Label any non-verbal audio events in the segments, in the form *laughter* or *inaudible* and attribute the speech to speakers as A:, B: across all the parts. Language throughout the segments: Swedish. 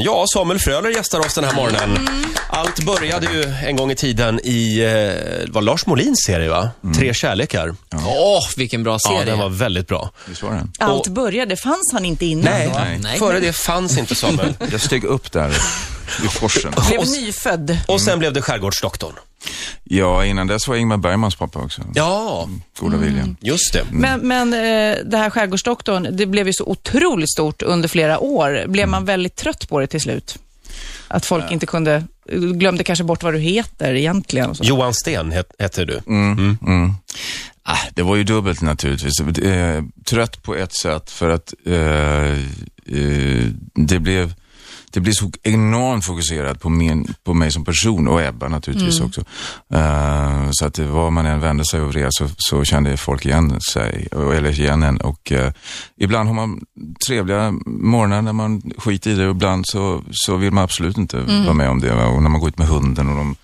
A: Ja, Samuel Fröler gästar oss den här morgonen. Allt började ju en gång i tiden i, eh, var Lars Molins serie va? Tre kärlekar.
B: Åh, vilken bra
A: Mm. Ja,
B: serie.
A: den var väldigt bra.
C: Visst var den?
D: Allt började, fanns han inte innan då?
A: Nej,
B: Nej.
A: före det fanns inte Samuel.
C: Jag steg upp där i forsen.
D: Blev
A: Och-
D: nyfödd.
A: Och sen blev det Skärgårdsdoktorn.
C: Ja, innan dess var Ingmar Bergmans pappa också. Mm,
A: Ja,
C: Goda viljan.
A: just det.
D: Men, men eh, det här Skärgårdsdoktorn, det blev ju så otroligt stort under flera år. Blev
C: Mm.
D: man väldigt trött på det till slut? Att folk inte kunde, glömde kanske bort vad du heter egentligen. Och så.
A: Johan Sten het, heter du.
C: Mm. Ah, det var ju dubbelt naturligtvis. Eh, trött på ett sätt för att eh, eh, det blev det blev så enormt fokuserat på, min, på mig som person och Ebba naturligtvis också. Eh, så att det var man än vände sig och vred så, så kände folk igen sig, eller igen en. Och, eh, ibland har man trevliga morgnar när man skiter i det och ibland så, så vill man absolut inte vara med om det. va. Och när man går ut med hunden och de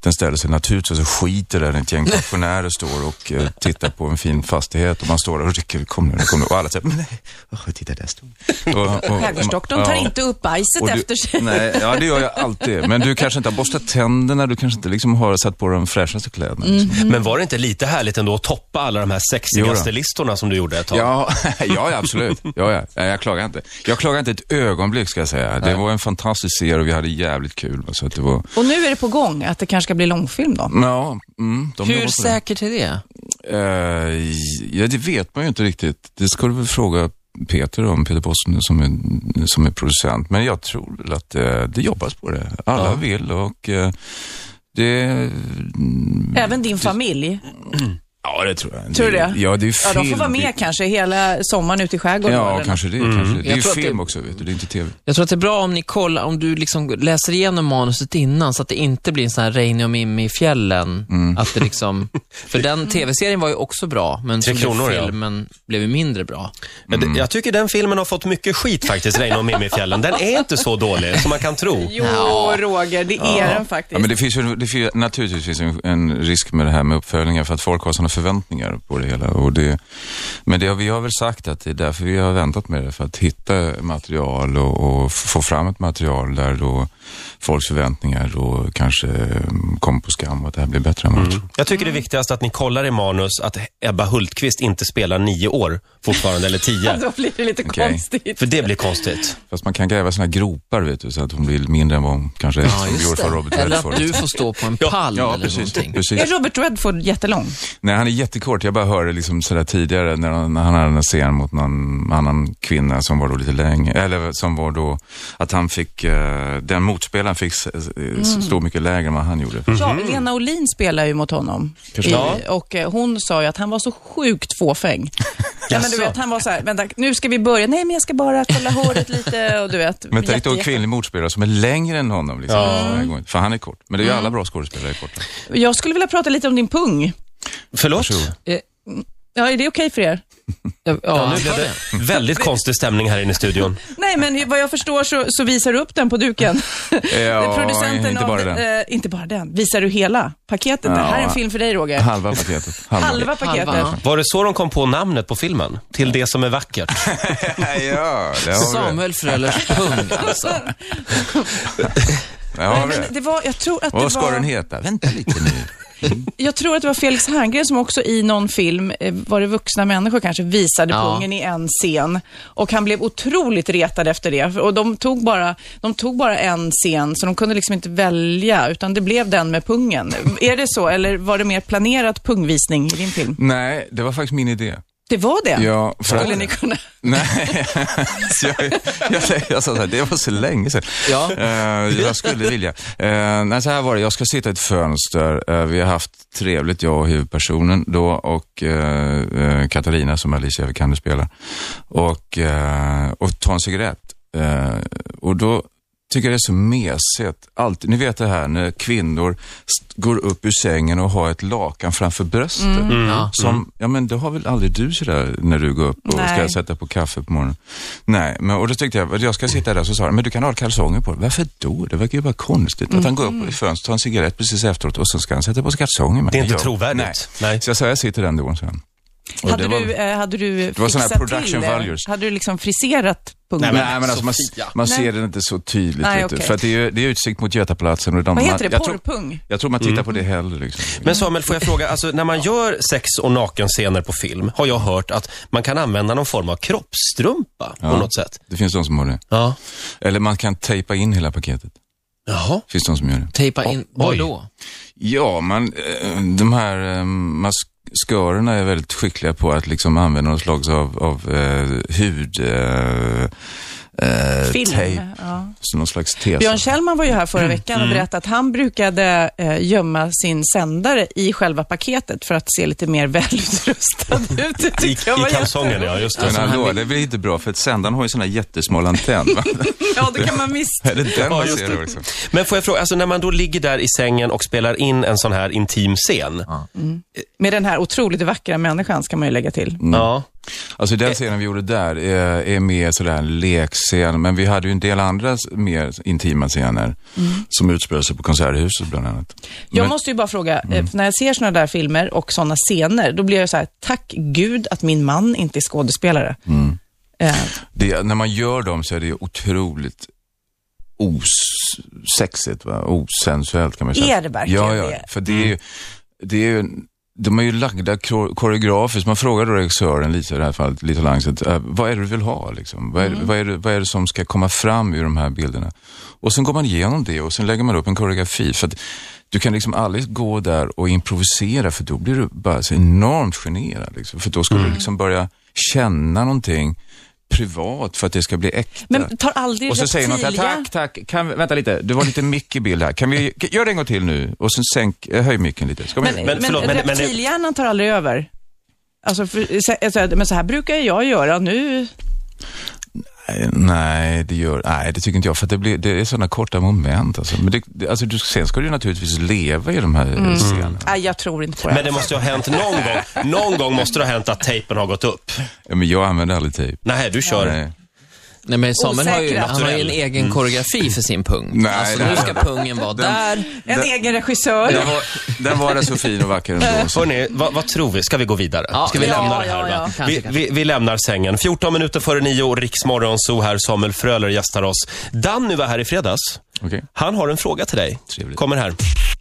C: den ställer sig naturligtvis och skiter där
D: *laughs*
C: ett gäng pensionärer står och eh, tittar på en fin fastighet och man står där och rycker, kom nu, kom nu. Och alla säger, "Men nej, åh, titta där stod
D: *laughs*
C: den." Och- och- och-
D: Skärgårdsdoktorn tar
C: ja.
D: inte upp bajset
C: Och du-
D: efter sig.
C: Nej, ja det gör jag alltid. Men du kanske inte har borstat tänderna, du kanske inte liksom har satt på de fräschaste kläderna. Liksom.
D: Mm.
A: Men var det inte lite härligt ändå att toppa alla de här sexigaste
C: Jo då.
A: listorna som du gjorde ett tag?
C: Ja, *laughs* ja, ja, absolut. Ja, ja. Nej, Jag klagar inte. Jag klagar inte ett ögonblick ska jag säga. Det var en fantastisk serie och vi hade jävligt kul. va, Så att det var,
D: Och nu är det på gång att det kanske ska bli långfilm då.
C: ja, mm, de jobbar
B: Hur
C: på det.
B: säkert är det?
C: Eh, ja, det vet man ju inte riktigt. Det ska du väl fråga Peter om, Peter Bossen som är, som är producent. Men jag tror väl att eh, det jobbas på det. Alla vill och eh, det...
D: Även din familj.
C: Ja, det tror jag.
D: Tror du det?
C: Ja, det är film.
D: Ja, de får vara med kanske hela sommaren ute i skärgården.
C: Ja,
D: eller
C: kanske det. Kanske det. det är
B: Jag
C: ju
B: tror att
C: film
B: det-
C: också, vet du. Det är inte tv.
B: Jag tror att det är bra om ni kollar, om du liksom läser igenom manuset innan så att det inte blir en sån här Reine och Mimmi i fjällen.
C: Mm.
B: Att det
C: *laughs*
B: liksom, för den tv-serien var ju också bra, men
A: Tre
B: som blev
A: kronor, ja.
B: filmen blev ju mindre bra.
A: Men det- Jag tycker den filmen har fått mycket skit faktiskt, Reine och Mimifjällen. Den är inte så dålig som man kan tro.
D: Jo, Roger, det är den faktiskt.
C: Ja, men det finns ju, det finns, naturligtvis finns en, en risk med det här med uppföljningar för att folk har sådana förväntningar på det hela. Och det, men det, har- vi har väl sagt att det är därför vi har väntat med det, för att hitta material och, och få fram ett material där då folks förväntningar då kanske mm, kommer på skam och att det här blir bättre än vad man
B: Mm.
C: tror.
A: Jag tycker det viktigaste att ni kollar i manus att Ebba Hultqvist inte spelar nio år fortfarande, eller tio.
D: *laughs* Då blir det lite
C: Okej.
D: konstigt.
A: För det blir konstigt.
C: Fast man kan gräva sina gropar vet du, så att hon blir mindre än vad hon kanske är, som gjorde för Robert
B: Eller
C: Redford.
B: att du får stå på en pall
C: Ja,
B: eller
C: precis.
B: någonting.
C: precis.
D: Är Robert Redford jättelång?
C: Nej, han är jättekort. Jag bara hörde liksom sådär tidigare när han, när han hade en scen mot någon annan kvinna som var då lite längre, eller som var då att han fick, eh, den motspelaren fick s- s- stå mycket lägre än vad han gjorde.
D: Ja, Lena Olin spelar ju mot honom.
C: Kanske.
D: I, och eh, hon sa ju att han var så
C: *laughs*
D: sjukt fåfäng. Nej, men du vet, han var så här, vänta, nu ska vi börja. Nej, men jag ska bara kolla håret lite och du vet.
C: Men tänk då en
D: jätte-
C: kvinnlig motspelare som är längre än honom. Liksom, varje gång. För han är kort. Men det är ju alla bra skådespelare är korta.
D: Jag skulle vilja prata lite om din pung.
B: Eh,
A: Förlåt?
D: Ja, är det okej för er?
B: Ja,
A: Ja,
B: ja,
A: nu blev det väldigt konstig stämning här inne i studion.
D: Nej, men vad jag förstår så, så visar du upp den på duken.
C: *laughs* Ja,
D: *laughs* Producenten
C: inte
D: av-
C: bara den.
D: Eh, inte bara den. Visar du hela paketet? Det här är en film för dig, Roger.
C: Halva paketet.
D: Halva paketet.
B: Halva.
A: Var det så de kom på namnet på filmen? Till det som är vackert.
C: *laughs* ja, det Mm. har vi.
B: Samuel
C: *laughs*
B: Frölers pung alltså.
C: Där har vi
D: Men
C: det.
D: det var, jag tror att det
C: Vad ska
D: var...
C: den heta? Vänta lite nu.
D: Jag tror att det var Felix Herngren som också i någon film, eh, var det vuxna människor kanske, visade
B: Ja.
D: pungen i en scen. Och han blev otroligt retad efter det. Och de tog, bara, de tog bara en scen, så de kunde liksom inte välja, utan det blev den med pungen. Är det så, eller var det mer planerat pungvisning i din film?
C: *laughs* Nej, det var faktiskt min idé.
D: Det var det?
C: Ja, för
D: Skulle
C: att-
D: ni kunna...
C: Nej, *laughs* så jag, jag, jag sa så här, det var så länge sedan.
B: Ja.
C: Eh, jag skulle vilja. Eh, nej, så här var det, jag ska sitta i ett fönster. Eh, vi har haft trevligt, jag och huvudpersonen då och eh, eh, Katarina som Alicia Vikander spelar. Och, eh, och ta en cigarett. Eh, och då tycker jag det är så mesigt. Alltid, ni vet det här när kvinnor st- går upp ur sängen och har ett lakan framför bröstet.
B: Ja.
C: Som, ja men det har väl aldrig du sådär när du går upp och
D: Mm. Nej.
C: ska sätta på kaffe på morgonen? Nej, men, och då tyckte jag, jag ska sitta där, så sa han, men du kan ha kalsonger på dig. Varför då? Det verkar ju bara konstigt att han går
D: Mm.
C: upp i fönstret, tar en cigarett precis efteråt och så ska han sätta på sig kalsonger. Men
A: Det är inte
C: jag-
A: trovärdigt.
C: Nej.
A: Nej.
C: Så jag sa, jag sitter i den dån, sen.
D: Hade,
C: det var-
D: du, eh, hade du
C: var sån här
D: fixat
C: production
D: till, eh,
C: values.
D: Hade du liksom friserat pungen.
A: Nej,
C: Nej, men alltså man,
A: Sofia.
C: man
D: Nej.
C: ser den inte så tydligt.
D: Nej,
C: vet du.
D: okej.
C: För att det, är, ju- det är utsikt mot Götaplatsen. Och de,
D: Vad heter det?
C: Jag tror,
D: Porrpung?
C: jag tror man tittar på det hellre. Liksom.
A: Mm. Men Samuel, får jag fråga, alltså, när man gör sex och nakenscener på film har jag hört att man kan använda någon form av kroppsstrumpa på
C: Ja.
A: något sätt.
C: Det finns de som har det.
A: Ja.
C: Eller man kan tejpa in hela paketet.
A: Jaha.
C: Finns de som gör det.
B: Tejpa in, vad då?
C: Ja, man, eh, de här eh, maskörerna är väldigt skickliga på att liksom använda någon slags av, av eh, hud... Eh, eh,
D: Film?
C: Tejp,
D: Ja.
C: så någon slags tes.
D: Björn Kjellman var ju här förra veckan och berättade att han brukade eh, gömma sin sändare i själva paketet för att se lite mer *laughs* välutrustad ut. Det
A: I,
D: tycker jag var
A: I kalsongen,
D: jättebra.
A: ja. Just det.
C: Men
B: Alltså, han
C: hallå,
B: vill-
C: det blir inte bra för att sändaren har ju sån här jättesmal antenn. va?
D: Ja, det kan man visst.
C: är det den man
A: just
C: ser
A: det.
C: då liksom?
A: Men får jag fråga, alltså, när man då ligger där i sängen och spelar in en sån här intim scen. Ja.
D: Med den här otroligt vackra människan ska man ju lägga till.
B: Mm,
C: Mm. Alltså den scenen vi gjorde där är, är mer sådär en lekscen, men vi hade ju en del andra s- mer intima scener som utspelade sig på Konserthuset bland annat.
D: Jag
C: Men-
D: måste ju bara fråga, eh, för när jag ser såna där filmer och såna scener, då blir jag så här, tack gud att min man inte är skådespelare. Eh,
C: Det, när man gör dem så är det otroligt osexigt, va? osensuellt kan man säga.
D: Är det verkligen
C: ja, ja,
D: det?
C: För det är ju, det är ju de är ju lagda kor- koreografiskt. Man frågar då regissören, Lisa i det här fallet, Lita Langset, eh, vad är det du vill ha? Liksom? Vad, är,
D: Mm.
C: vad, är det, vad är det som ska komma fram ur de här bilderna? Och sen går man igenom det och sen lägger man upp en koreografi. För att du kan liksom aldrig gå där och improvisera för då blir du bara så enormt generad. Liksom. För då ska
D: Mm.
C: du liksom börja känna någonting privat för att det ska bli äkta.
D: men tar aldrig
C: Och så säger någon,
D: reptilia-
C: tack, tack, kan, vi- vänta lite, du var lite mick i bild här. Kan vi, gör det en gång till nu och sen sänk, eh, höj micken lite. Ska vi-
D: Men, men,
A: förlåt, men- men-
D: reptilhjärnan tar aldrig över. Alltså, för, så- alltså, men så här brukar jag göra nu.
C: Nej, Nej, det gör, nej, det tycker inte jag, för att det, blir, det är sådana korta moment. Alltså. Men det, det, alltså, du, sen ska du ju naturligtvis leva i de här eh, scenerna.
D: Nej, jag tror inte på det.
A: Men det måste ju ha hänt någon gång. Någon gång måste det ha hänt att tejpen har gått upp.
C: Ja, Men jag använder aldrig tejp.
A: Nej, du kör.
C: Nej.
B: Nej, men Samuel har ju,
D: Osäkra.
B: han har ju en egen koreografi för sin pung.
C: Mm. Nej,
B: alltså,
C: det
B: nu
C: här-
B: ska pungen vara där.
D: En egen regissör. *laughs*
C: Den, var, den var där så fin och vacker ändå.
A: *laughs*
C: Så.
A: Hörrni, vad, vad tror vi? Ska vi gå vidare?
B: Ja,
A: Ska vi
B: ja,
A: lämna det här?
D: ja, ja.
A: Va?
B: Kanske,
A: Vi,
B: kanske.
A: vi, vi lämnar sängen. 14 minuter före nio och Riksmorgon så här. Samuel Fröler gästar oss. Danny var här i fredags.
C: Okej.
A: Han har en fråga till dig.
C: Trevligt.
A: Kommer här.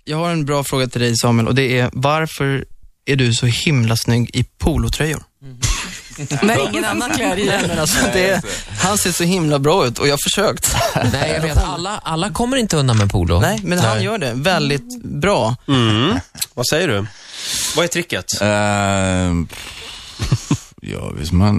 E: Jag har en bra fråga till dig Samuel och det är varför är du så himla snygg i polotröjor?
D: När ingen annan klär i den.
E: Men alltså, det är, han ser så himla bra ut och jag har försökt.
B: Nej, jag vet. Alla, alla kommer inte undan med polo.
E: Nej, men han gör det väldigt bra.
A: Mm. Vad säger du? Vad är tricket?
C: Ehm, ja, visst man...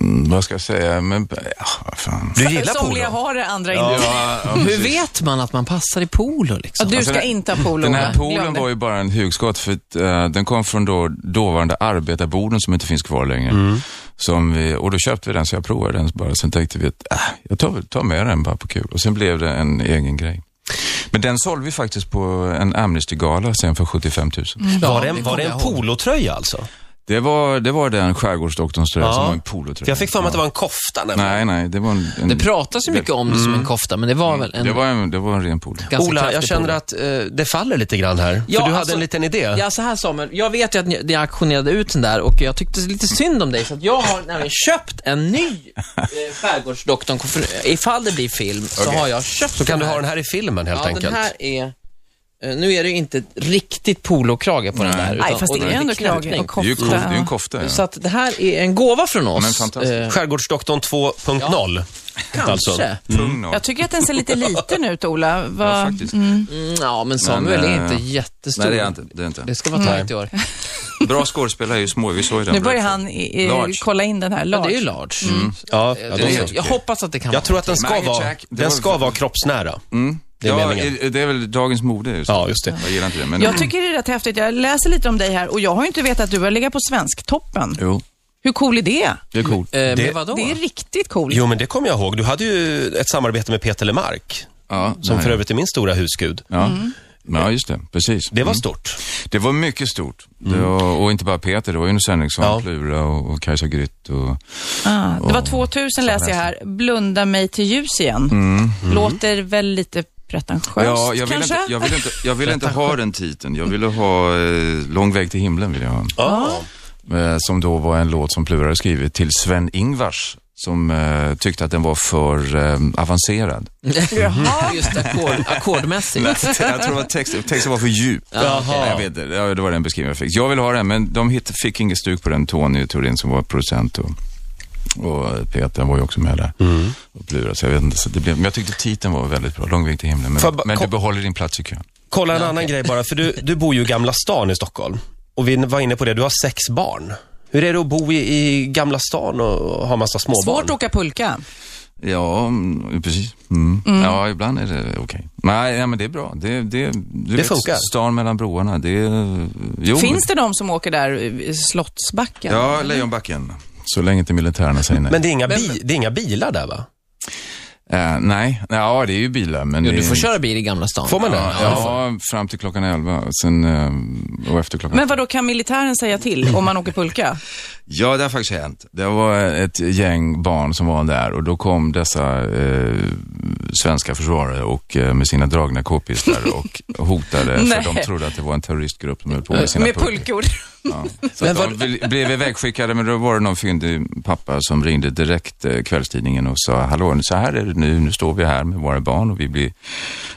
C: Mm, vad ska jag säga? Men, ja, vad fan.
A: Du gillar
D: Somliga
A: polo?
D: har det, andra inte.
C: Ja, ja,
B: Hur vet man att man passar i polo liksom?
D: Och du
C: Alltså,
D: ska
C: den-
D: inte ha polo.
C: Den här
D: Ola.
C: poolen
D: Glöm det.
C: var ju bara en hugskott för att, eh, den kom från då, dåvarande arbetarboden som inte finns kvar längre. Som vi, och då köpte vi den så jag provade den bara. Sen tänkte vi att äh, jag tar, väl- tar med den bara på kul. Och sen blev det en egen grej. Men den sålde vi faktiskt på en Amnesty-gala sen för 75 000.
A: Var det en, var det
B: kommer
A: en
B: jag ihåg.
A: polotröja alltså?
C: Det, var, det var den skärgårdsdoktorns tröja
A: Ja.
C: som var en polotröja.
A: För jag fick för mig att det
C: Ja.
A: var en kofta. nämligen.
C: Nej, nej, det var en... en
B: Det pratas ju mycket om det som en kofta, men Mm. det var väl en
C: det, var en, det var en ren polo.
B: ganska
A: Ola, jag
B: kraftig
A: känner
B: polo.
A: att eh, det faller lite grann här.
B: Ja,
A: för du hade
B: alltså-
A: en liten idé.
B: Ja, så här Samuel. Jag vet ju att ni, ni auktionerade ut den där och jag tyckte lite synd om dig, så att jag har nämligen köpt en ny eh, Skärgårdsdoktorn. För eh, Ifall det blir film så har jag köpt
A: Så kan du ha den här i filmen helt
B: ja,
A: enkelt.
B: den här är... eh, Nu är det ju inte riktigt polokrage på den där. utan-
D: Nej, fast
B: och
D: det är ändå krage
B: knäppning.
D: och
C: Det är ju kof- det
D: kofta.
C: är ju en kofta. Ja.
B: Så att det här är en gåva från oss.
C: Men fantastiskt.
B: Eh,
A: Skärgårdsdoktorn 2.0.
B: kanske.
A: Alltså.
C: Tung nog.
D: Jag tycker att den ser lite liten ut, Ola.
C: Ja,
D: Vad-
C: faktiskt.
B: Mm, ja, men Samuel
C: Men,
B: är
C: eh,
B: inte jättestor.
C: Nej, det är jag inte. Det är jag inte.
B: Det ska vara
A: Mm.
B: tajt i år.
C: Bra skådespelare är ju små, vi såg ju den.
D: Nu börjar
C: berättelsen.
D: han i, i,
C: Large.
D: kolla in den här.
B: Ja, det är
D: Large.
B: ju large.
A: Ja,
B: Eh,
A: ja,
B: det är-
A: de-
B: jag, hoppas att det kan
A: jag tror att den ska
C: Maggie
A: vara,
C: Jack, det
A: den
C: var-
A: ska vara kroppsnära. Det är
C: ja,
A: meningen.
C: i- det är väl dagens mode just
A: Ja, just det.
C: Jag gillar inte det, men...
D: Jag tycker det är rätt häftigt. Jag läser lite om dig här och jag har ju inte vetat att du har legat på Svensktoppen.
C: Jo,
D: Hur cool är det?
C: det är
A: Mm,
C: coolt.
B: vara. Eh,
A: Det-
B: men vadå?
D: Det är riktigt coolt.
A: Jo, men det kommer jag ihåg. Du hade ju ett samarbete med Peter Lemark,
C: Ja,
A: som
C: nej.
A: för övrigt är min stora husgud.
C: Ja. ja, just det. Precis.
A: Det var
C: Mm.
A: stort.
C: det var mycket stort. Det var, och inte bara Peter, det var ju Nils Henriksson,
A: Ja.
C: Plura och, och Kajsa Grytt och...
D: Ah, det var 2000 läser jag här. Blunda mig till ljus igen. Låter väl lite pretentiöst
C: Mm, Ja, jag ville
D: kanske?
C: inte, jag ville inte, jag ville inte ha den titeln. Jag ville ha eh, Lång väg till himlen, ville jag ha.
A: Ja.
C: Eh, som då var en låt som Plura hade skrivit till Sven-Ingvars som eh, tyckte att den var för eh, avancerad.
D: Jaha.
B: *laughs* Just ackord, ackordmässigt.
C: jag tror det var texten, texten var för djup.
A: Jaha.
C: Jag vet, inte. ja, det var den beskrivningen jag fick. Jag vill ha den, men de hit, fick inget stuk på den. Tony Turin som var producent och, och Peter var ju också med där. Och Plura, så jag vet inte. Så det blev, men jag tyckte titeln var väldigt bra. Lång väg till himlen. Men,
A: Får jag ba-
C: men du
A: kom-
C: behåller din plats i kön.
A: Kolla en annan grej bara, för du, du bor ju i Gamla stan i Stockholm. Och vi var inne på det, du har sex barn. Hur är det att bo i, i Gamla stan och, och ha massa småbarn?
D: Svårt att åka pulka.
C: Ja, mm, precis. Mm. Ja, ibland är det okej. Nej, nej, men det är bra. Det, det, det
A: funkar.
C: Stan mellan broarna. Det, är- jo,
D: Finns det de som åker där i Slottsbacken?
C: Ja, Lejonbacken. Så länge inte militärerna säger nej.
A: Men det är, inga bi, det är inga bilar där va?
C: Eh, nej, nej, ja det är ju bilar men...
B: Jo,
C: det
B: du
C: är-
B: får köra bil i Gamla stan.
A: Får man det?
C: Ja, ja, fram till klockan 11 sen, eh, och efter klockan
D: Men vad då kan militären säga till om man åker pulka?
C: Ja, det har faktiskt hänt. Det var ett gäng barn som var där och då kom dessa eh, svenska försvarare och eh, med sina dragna k-pistar och hotade
D: *laughs* Nej.
C: för de trodde att det var en terroristgrupp som höll på med sina
D: Med
C: pulkor.
D: pulkor.
C: Ja. Så att de bli- blev ivägskickade men då var det någon fyndig pappa som ringde direkt eh, kvällstidningen och sa hallå, så här är det nu, nu står vi här med våra barn och vi blir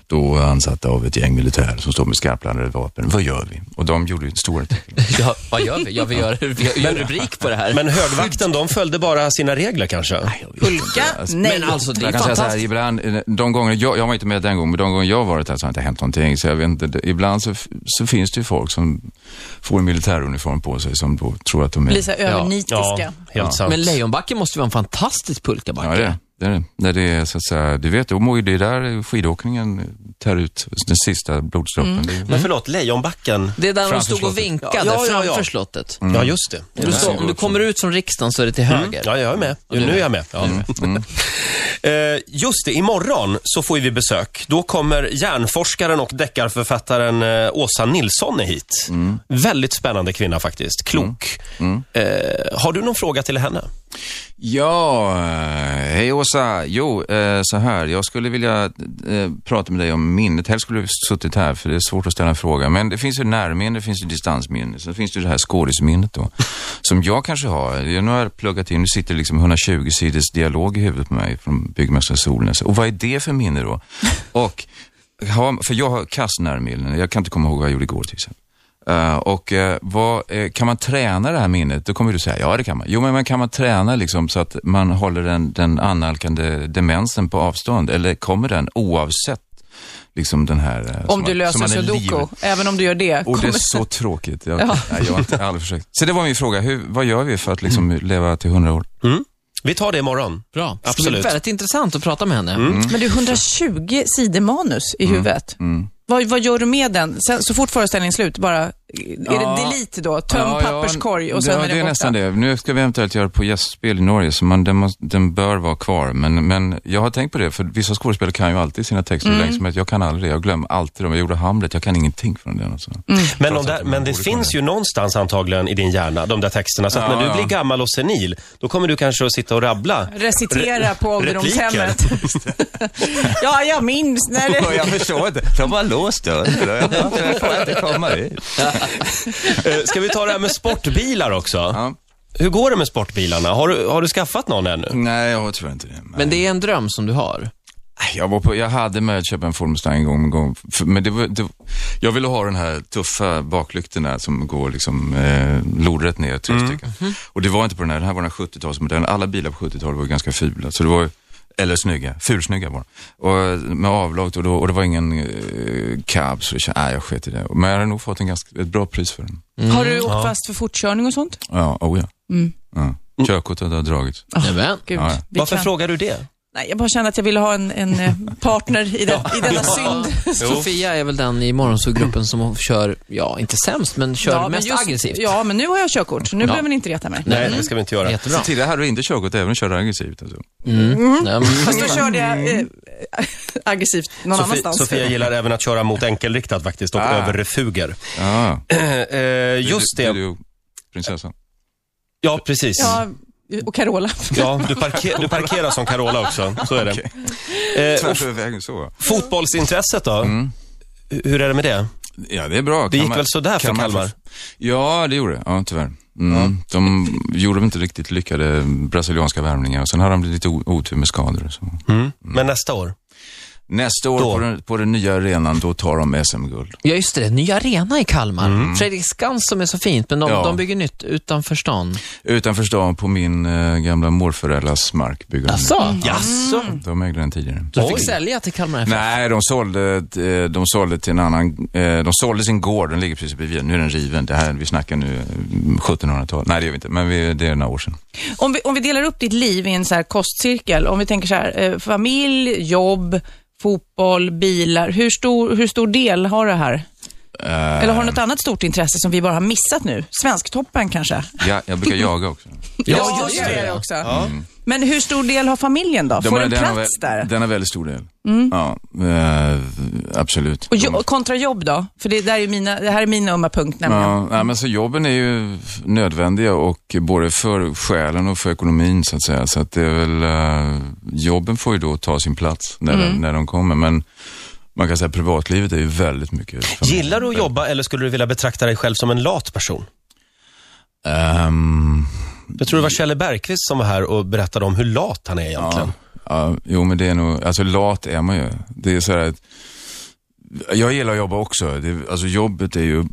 C: då ansatta av ett gäng militärer som står med skarpladdade vapen. Vad gör vi? Och de gjorde ju en stor artikel.
B: Ja, vad gör vi? Ja, vi gör, vi gör rubrik på det här.
A: Men högvakten, de följde bara sina regler kanske?
D: Pulka? Nej.
B: Men alltså, det är
C: Jag kan säga så här,
B: fantastiskt.
C: ibland, eh, de gånger, jag, jag var inte med den gången, men de gånger jag har varit här så har det inte hänt någonting. Så jag vet inte, det- ibland så, f- så finns det ju folk som får en militäruniform på sig som då tror att de är...
D: Blir så här
A: Ja,
D: övernitiska.
A: helt sant.
B: Men Lejonbacken måste ju vara en fantastisk pulkabacke.
C: Ja, det är det. det är det. När det är så att säga, du vet, Åmål, det är där skidåkningen tar ut den sista blodsdroppen. Det är-
A: Men förlåt, Lejonbacken?
B: Det är där de
C: Framför
B: stod och
C: slottet.
B: vinkade,
A: Ja, ja, ja.
B: framför slottet.
A: Ja, just det.
B: Du står- om du kommer ut från riksdagen så är det till höger.
A: Mm. Ja, jag är med. Jo, nu är jag med. Ja. *laughs* Eh, Just det, imorgon så får vi besök. Då kommer järnforskaren och deckarförfattaren eh, Åsa Nilsson hit. Väldigt spännande kvinna faktiskt. Klok. Eh, har du någon fråga till henne?
C: Ja, eh, hej Åsa. Jo, eh, så här. Jag skulle vilja eh, prata med dig om minnet. Helst skulle du suttit här för det är svårt att ställa en fråga. Men det finns ju närminne, det finns ju distansminne. Sen finns det ju det här skådisminnet då. som jag kanske har. Jag, nu har jag pluggat in, nu sitter det liksom 120 sidors dialog i huvudet på mig från byggmästaren Solnäs. Och vad är det för minne då? Och, har- för jag har kass närminne. Jag kan inte komma ihåg vad jag gjorde igår till exempel. Eh, och eh, vad, eh, kan man träna det här minnet? Då kommer du säga, ja det kan man. Jo, men man kan man träna liksom så att man håller den, den annalkande demensen på avstånd? Eller kommer den oavsett liksom den här... eh, som
D: Om du
C: man- som
D: löser
C: man är
D: sudoku,
C: liv- Mm.
D: även om du gör det.
C: och det
D: kommer-
C: är så tråkigt. Jag, nej, jag har inte aldrig försökt. Så det var min fråga. Hur, vad gör vi för att liksom
D: Mm.
C: leva till 100 år?
A: Vi tar det imorgon.
B: Bra. Det blir
A: Absolut.
B: väldigt intressant att prata med henne.
D: Men du, 120 sidor manus i
C: Mm.
D: huvudet. Vad, vad gör du med den? Sen, så fort föreställningen är slut, bara, är det delete då? Töm
C: Ja, ja,
D: papperskorg och sen
C: ja,
D: är det,
C: är
D: borta.
C: nästan det. Nu ska vi eventuellt göra på gästspel i Norge, så man, den, måste, den bör vara kvar. Men, men jag har tänkt på det, för vissa skådespelare kan ju alltid sina texter
D: Mm.
C: hur länge som helst. Jag kan aldrig det. Jag glömmer alltid dem. Jag gjorde Hamlet, jag kan ingenting från den. Alltså.
A: Men, de
C: att
A: där,
C: man
A: men det
C: borde kunna.
A: finns ju någonstans antagligen i din hjärna, de där texterna. Så att
C: Ja,
A: när du
C: ja.
A: blir gammal och senil, då kommer du kanske att sitta och rabbla.
D: Recitera på
A: *laughs*
D: ålderdomshemmet.
A: repliker.
D: ja, jag minns när det...
C: jag förstår inte. De var låst dörren. Jag får inte komma dit.
A: Eh, Ska vi ta det här med sportbilar också?
C: Ja.
A: Hur går det med sportbilarna? Har du, har du skaffat någon ännu?
C: Nej, jag har tyvärr inte det.
B: Men det är en dröm som du har.
C: Äh, Jag, var på, jag hade med att köpa en Ford Mustang en gång, en gång F- men det, var- det, jag ville ha den här tuffa baklyktorna som går liksom eh, lodrätt ner, tre stycken. Och det var inte på den här, den här var den här 70-talsmodellen. Alla bilar på 70-talet var ju ganska fula, så det var ju- eller snygga, fulsnygga var de. och eh, Med avlagt och, då, och det var ingen eh, cab, så jag kände, nej jag sket i det. Men jag hade nog fått en ganska, ett bra pris för den.
D: Har du åkt fast för fortkörning och sånt?
C: Ja, oh ja. Mm. ja. Körkortet har dragits.
B: Nämen.
D: Gud,
C: Ja, ja.
D: det
A: Varför
D: kan-
A: frågar du det?
D: Nej, jag bara kände att jag ville ha en, en eh, partner i, den, i denna synd.
B: Sofia är väl den i morgonsågruppen som kör, ja, inte sämst, men kör
D: Ja, men
B: mest
D: just-
B: aggressivt.
D: Ja, men nu har jag körkort. Nu behöver ni inte reta mig.
A: Nej, det ska vi inte göra.
B: Jättebra.
C: Tidigare hade du inte körkort även om du körde aggressivt. Alltså.
D: Mm.
B: Nej, men-
D: Fast då körde jag eh, *laughs* aggressivt någon
A: Sofie,
D: annanstans.
A: Sofia gillar även att köra mot enkelriktat faktiskt och
C: Ah.
A: över refuger.
C: Ja.
A: Eh, just
C: Du,
A: det.
C: du, prinsessan.
A: Ja, precis.
D: Ja, och Carola.
A: Ja, du, parker, du parkerar som Carola också. Så är det. Eh, och
C: Tvärs över vägen så.
A: fotbollsintresset då? Hur är det med det?
C: Mm. Ja, det är bra.
A: Det gick väl sådär för Kalmar?
C: Ja, det gjorde det. Ja, tyvärr. Mm, de gjorde väl inte riktigt lyckade brasilianska värvningar och sen hade de lite o- otur med skador och så.
A: Mm. Men nästa år?
C: Nästa år
A: Då.
C: på den, på den nya arenan, då tar de SM-guld.
B: Ja, just det. Ny arena i Kalmar.
D: Mm.
B: Fredriksskans som är så fint, men de,
C: Ja.
B: de bygger nytt utanför stan.
C: Utanför stan på min eh, gamla morföräldrars mark bygger de
B: Jaså?
D: Mm.
A: Jaså?
C: nu. De ägde den tidigare.
B: Du fick
A: Oj.
B: sälja till Kalmar FF?
C: Nej, de sålde, eh, de sålde till en annan, eh, de sålde sin gård, den ligger precis bredvid, nu är den riven. Det här, vi snackar nu eh, 1700-tal. Nej, det gör vi inte, men vi, det är några år sedan.
D: Om vi, om vi delar upp ditt liv i en så här kostcirkel, om vi tänker så här, eh, familj, jobb, fotboll, bilar. Hur stor, hur stor del har det här?
C: Eh,
D: Eller har du något annat stort intresse som vi bara har missat nu? Svensktoppen kanske?
C: ja,
A: *laughs*
C: jag brukar jaga också.
B: Ja, just det.
D: också. Men hur stor del har familjen då?
C: De
D: Får
C: har-
D: den
C: har
D: plats
C: väl-
D: där? Mm.
C: Den har väldigt stor del. Ja, eh, absolut.
D: Och
C: De-
D: jo, kontra jobb då? För det, där är ju mina, det här är min ömma punkt nämligen.
C: Ja, nej, men så jobben är ju nödvändiga och både för själen och för ekonomin så att säga. Så att det är väl, eh, jobben får ju då ta sin plats när,
D: Mm.
C: de, när de kommer. Men man kan säga att privatlivet är ju väldigt mycket. för mig.
A: Gillar du att jobba eller skulle du vilja betrakta dig själv som en lat person?
C: Ehm,
A: Jag tror det var Kjelle Bergqvist som var här och berättade om hur lat han är egentligen.
C: ja, ja, jo men det är nog, alltså lat är man ju. Det är så här att, jag gillar att jobba också. Det, alltså jobbet är ju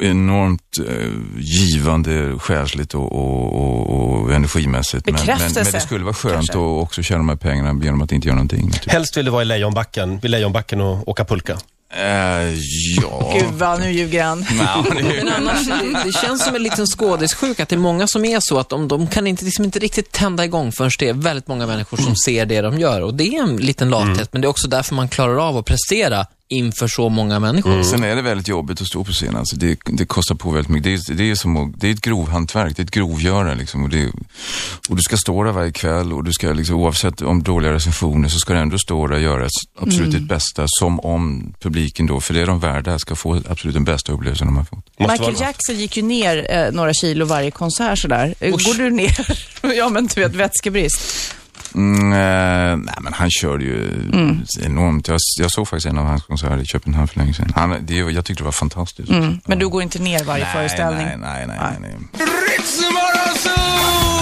C: enormt eh, givande själsligt och, och, och, och energimässigt. Men, men, men
D: Bekräftelse,
C: det skulle vara skönt
D: kanske.
C: att också tjäna de här pengarna genom att inte göra någonting. Typ.
A: Helst vill du vara i Lejonbacken, vid Lejonbacken och åka pulka.
C: Eh, ja.
D: *laughs* Gud vad, nu ljuger han.
C: Ja, det är ju-
B: Men annars, det, det känns som en liten skådissjuka att det är många som är så att de, de kan inte, liksom inte riktigt tända igång förrän det är väldigt många människor
D: Mm.
B: som ser det de gör. Och det är en liten lathet, men det är också därför man klarar av att prestera inför så många människor.
C: Sen är det väldigt jobbigt att stå på scen. Alltså det, det kostar på väldigt mycket. Det är, det är, som att, det är ett grovhantverk, det är ett grovgöra. Liksom. Och, det, och du ska stå där varje kväll och du ska, liksom, oavsett om dåliga recensioner, så ska du ändå stå där och göra s- absolut ditt bästa. Som om publiken då, för det är de värda, ska få absolut den bästa upplevelsen de har fått.
A: Måste
D: Michael
A: vara-
D: Jackson gick ju ner eh, några kilo varje konsert sådär. Eh, Går du ner? *laughs* ja, men du vet, vätskebrist.
C: Mm, eh, nej, men han kör ju enormt. Jag, jag såg faktiskt en av hans konserter i Köpenhamn för länge sedan. Han, det, jag tyckte det var
D: Mm.
C: fantastiskt.
D: Men du går inte ner varje föreställning?
C: Nej, nej, nej. nej, nej.
F: Ritzmorgonzoo!